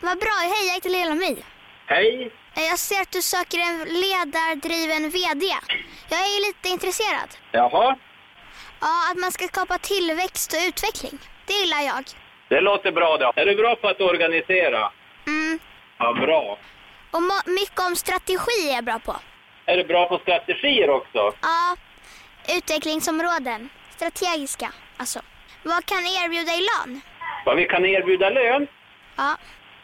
Vad bra, hej jag heter Lilla My. Hej. Eh, Jag ser att du söker en ledardriven VD. Jag är lite intresserad. Jaha. Ja, att man ska skapa tillväxt och utveckling. Det gillar jag. Det låter bra då. Är du bra på att organisera? Mm. Ja, bra. Och mo- mycket om strategi är jag bra på. Är du bra på strategier också? Ja, utvecklingsområden. Strategiska, alltså. Vad kan jag erbjuda i lön? Vad vi kan erbjuda lön? Ja,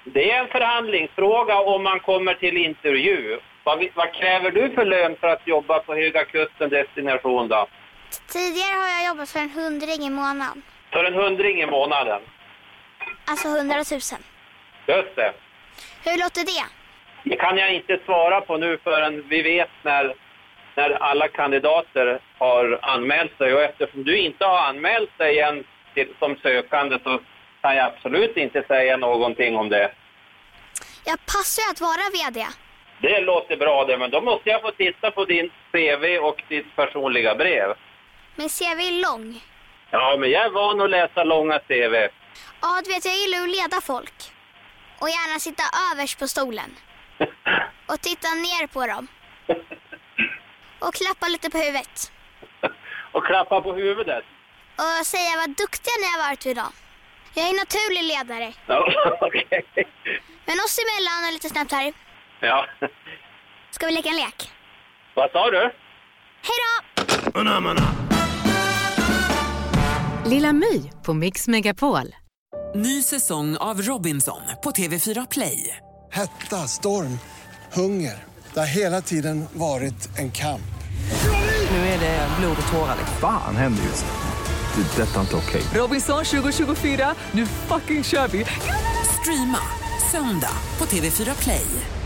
Det är en förhandlingsfråga om man kommer till intervju. Vad, vi- vad kräver du för lön för att jobba på Höga Kusten destination då? t- tidigare har jag jobbat för en hundring i månaden. För en hundring i månaden. Alltså hundratusen. Just det. Hur låter det? Det kan jag inte svara på nu förrän vi vet när, när alla kandidater har anmält sig. Och eftersom du inte har anmält dig än till, som sökande så kan jag absolut inte säga någonting om det. Jag passar ju att vara VD. Det låter bra det, men då måste jag få titta på din CV och ditt personliga brev. Min CV är lång. Ja, men jag är van att läsa långa CV. Ja, du vet, jag gillar att leda folk. Och gärna sitta överst på stolen. Och titta ner på dem. Och klappa lite på huvudet. Och klappa på huvudet. Och säga vad duktiga ni har varit idag. Jag är en naturlig ledare. Ja, okej. Men oss emellan och lite snabbt här. Ja. Ska vi leka en lek? Vad sa du? Hej då! Lilla My på Mix Megapol. Ny säsong av Robinson på TV4 Play. Hetta, storm, hunger. Det har hela tiden varit en kamp. Nu är det blod och tårar. Fan händer just nu. Det. är Detta är inte okej. Robinson 2024, nu fucking kör vi! Streama söndag på TV4 Play.